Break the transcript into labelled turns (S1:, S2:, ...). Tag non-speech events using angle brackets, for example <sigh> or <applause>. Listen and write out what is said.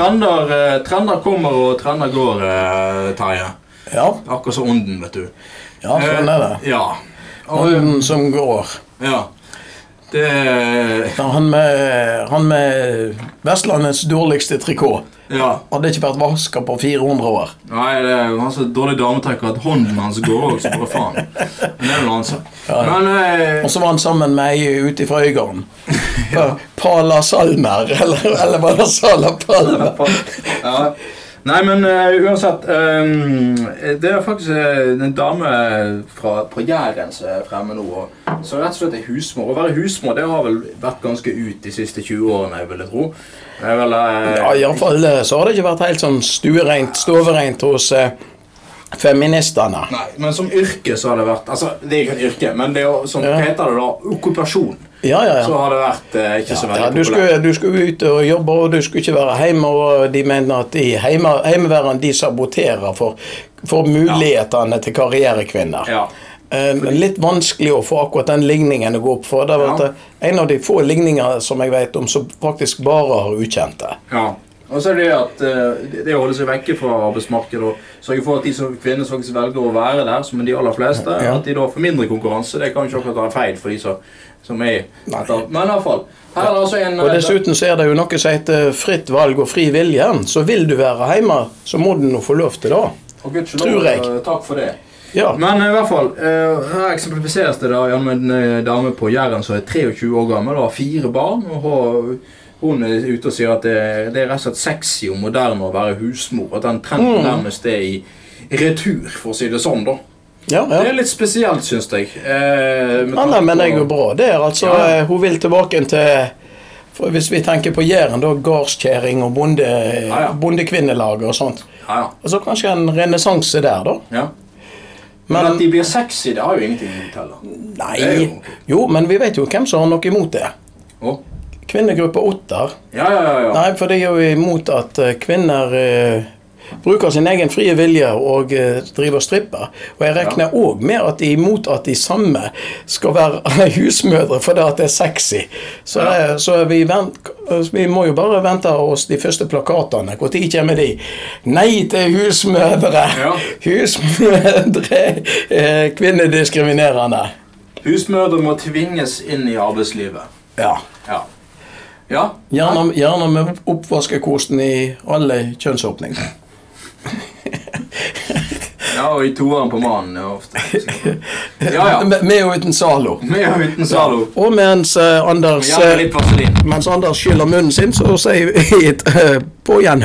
S1: Trender, eh, trender kommer og trender går, eh, Terje.
S2: Ja,
S1: Akkurat som ånden, vet du.
S2: ja sånn er det.
S1: Eh, Ja. Og,
S2: Ånden som går.
S1: ja. Det
S2: Ja, Han med, han med Vestlandets dårligste trikot
S1: Ja.
S2: hadde ikke vært vaska på 400 år.
S1: Nei, det er jo han så dårlig dametrekker at hånden hans går òg, så bare faen. Men det er noe annet. så. Men eh,
S2: Og så var han sammen med ei ute
S1: <laughs>
S2: fra Øygarden. Pa- Pala Salmer, eller, eller var det Sala Palmer?
S1: ja. Nei, men eh, uansett eh, Det er faktisk eh, en dame fra, fra Jæren som er fremme nå. og- Som rett og slett er husmor. Å være husmor det har vel vært ganske ut de siste 20 årene, jeg vil jeg tro. Det er vel, eh,
S2: Ja, Iallfall så har det ikke vært helt sånn stuereint, stovereint hos eh, feministene.
S1: Nei, men som yrke så har det vært Altså, det er ikke et yrke, men det er jo, som
S2: Ja.
S1: heter det da, okkupasjon.
S2: Ja, ja,
S1: Så
S2: ja.
S1: har det vært eh, ikke så
S2: ja
S1: veldig
S2: du,
S1: populært.
S2: skulle, du skulle ut og jobbe, og du skulle ikke være hjemme. Og de mener at de heime- heimeværende de saboterer for, for mulighetene til karrierekvinner.
S1: Ja.
S2: Eh, Litt vanskelig å få akkurat den ligningen å gå opp for. Det var
S1: Ja.
S2: at en av de få ligninger som jeg vet om, som faktisk bare har ukjente.
S1: ja. Og så er det at eh, det- det å holde seg vekke fra arbeidsmarkedet og sørge for at de som kvinner som faktisk velger å være der, som de aller fleste,
S2: Ja.
S1: at de da får mindre konkurranse, det kan jo ikke akkurat være feil for de som, som er
S2: Nei.
S1: etter. Men iallfall. Her er det altså en
S2: Og
S1: eh,
S2: Dessuten så er det jo noe som heter fritt valg og fri vilje. Så vil du være hjemme, så må du nå få lov til det.
S1: og gudskjelov,
S2: tror jeg.
S1: eh, Takk for det.
S2: Ja.
S1: Men eh, i hvert fall, eh, her eksemplifiseres det da gjennom en eh, dame på Jæren som er 23 år gammel og har fire barn. og har- Hun er ute og sier at det, det er rett og slett sexy og moderne å være husmor. At den trenden
S2: Mm.
S1: nærmest er i retur, for å si det sånn. da.
S2: ja, ja.
S1: Det er litt spesielt, syns jeg. Eh, med
S2: Ja,
S1: tanke
S2: nei, men
S1: på-
S2: det går bra. Det er altså,
S1: Ja.
S2: eh, Hun vil tilbake til for Hvis vi tenker på Jæren, da gardskjæring og bonde,
S1: ja.
S2: bondekvinnelaget og sånt.
S1: Ja, ja.
S2: Og så kanskje en renessanse der, da.
S1: ja. Men,
S2: Men
S1: at de blir sexy, det har jo ingenting å fortelle. Det er
S2: nei.
S1: jo-
S2: Jo, men vi vet jo hvem som har noe imot det.
S1: Å?
S2: Kvinnegruppa Otter.
S1: Ja, ja, ja. ja.
S2: Nei, for de er jo imot at eh, kvinner eh, bruker sin egen frie vilje og eh, driver stripper. Og jeg regner òg med at de er imot at de samme skal være <laughs> husmødre fordi at det er sexy. Så,
S1: Ja.
S2: eh, så vi, vent, eh, vi må jo bare vente oss de første plakatene. Når kommer de? Nei til husmødre!
S1: Ja.
S2: <laughs> Husmødre eh, kvinnediskriminerende.
S1: Husmødre må tvinges inn i arbeidslivet.
S2: Ja.
S1: Ja. Ja,
S2: Gjerne, gjerne med oppvaskekosten i alle kjønnsåpninger.
S1: ja og i toeren på mannen er ofte. sånn. Ja, ja.
S2: Med, med og uten Zalo.
S1: Med og uten Zalo.
S2: Og mens, eh, Anders,
S1: Gjerne litt vaselin.
S2: eh, mens Anders skyller munnen sin, så sier vi <laughs> eh, på igjen.